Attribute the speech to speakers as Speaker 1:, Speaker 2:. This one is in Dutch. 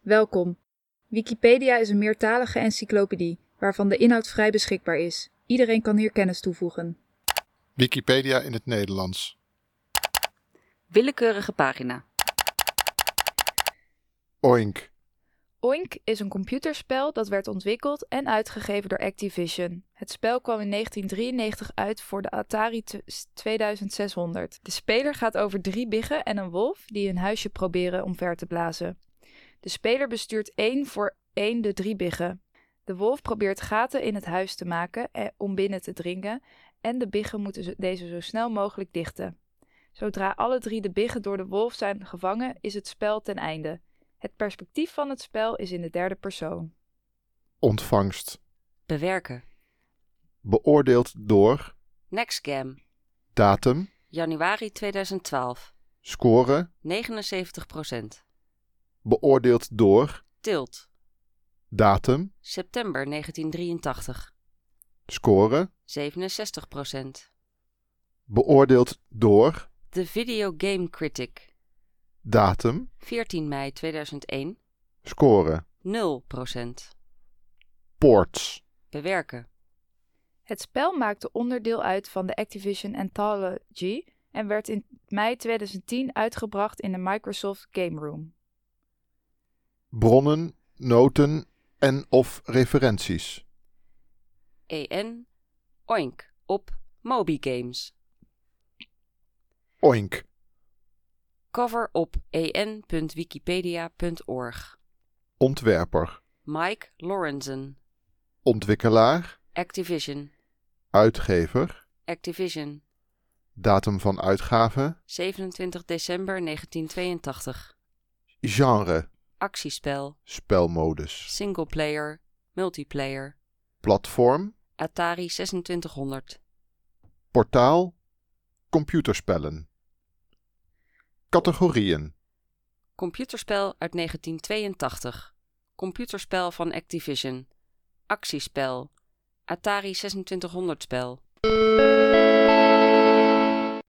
Speaker 1: Welkom. Wikipedia is een meertalige encyclopedie waarvan de inhoud vrij beschikbaar is. Iedereen kan hier kennis toevoegen.
Speaker 2: Wikipedia in het Nederlands.
Speaker 3: Willekeurige pagina.
Speaker 2: Oink.
Speaker 4: Oink is een computerspel dat werd ontwikkeld en uitgegeven door Activision. Het spel kwam in 1993 uit voor de Atari t- 2600. De speler gaat over drie biggen en een wolf die hun huisje proberen omver te blazen. De speler bestuurt één voor één de drie biggen. De wolf probeert gaten in het huis te maken eh, om binnen te dringen en de biggen moeten ze- deze zo snel mogelijk dichten. Zodra alle drie de biggen door de wolf zijn gevangen, is het spel ten einde. Het perspectief van het spel is in de derde persoon.
Speaker 2: Ontvangst.
Speaker 3: Bewerken.
Speaker 2: Beoordeeld door
Speaker 3: NextGam.
Speaker 2: datum,
Speaker 3: Januari 2012.
Speaker 2: score,
Speaker 3: 79%.
Speaker 2: beoordeeld door
Speaker 3: Tilt.
Speaker 2: datum,
Speaker 3: September 1983.
Speaker 2: score,
Speaker 3: 67%.
Speaker 2: beoordeeld door
Speaker 3: The Video Game Critic.
Speaker 2: datum,
Speaker 3: 14 mei 2001.
Speaker 2: score,
Speaker 3: 0%.
Speaker 2: ports,
Speaker 3: Bewerken.
Speaker 4: Het spel maakte onderdeel uit van de Activision Anthology en werd in mei 2010 uitgebracht in de Microsoft Game Room.
Speaker 2: bronnen, noten en of referenties.
Speaker 3: EN. E Oink. Op Moby Games.
Speaker 2: Oink.
Speaker 3: Cover op E en.wikipedia.org.
Speaker 2: Ontwerper,
Speaker 3: Mike Lorenzen.
Speaker 2: ontwikkelaar,
Speaker 3: Activision.
Speaker 2: uitgever,
Speaker 3: Activision.
Speaker 2: datum van uitgave,
Speaker 3: 27 december 1982.
Speaker 2: genre,
Speaker 3: Actiespel.
Speaker 2: spelmodus,
Speaker 3: Singleplayer. Multiplayer.
Speaker 2: platform,
Speaker 3: Atari 2600.
Speaker 2: Portaal Computerspellen Categorieën
Speaker 3: Computerspel uit 1982. Computerspel van Activision. Actiespel. Atari 2600 spel.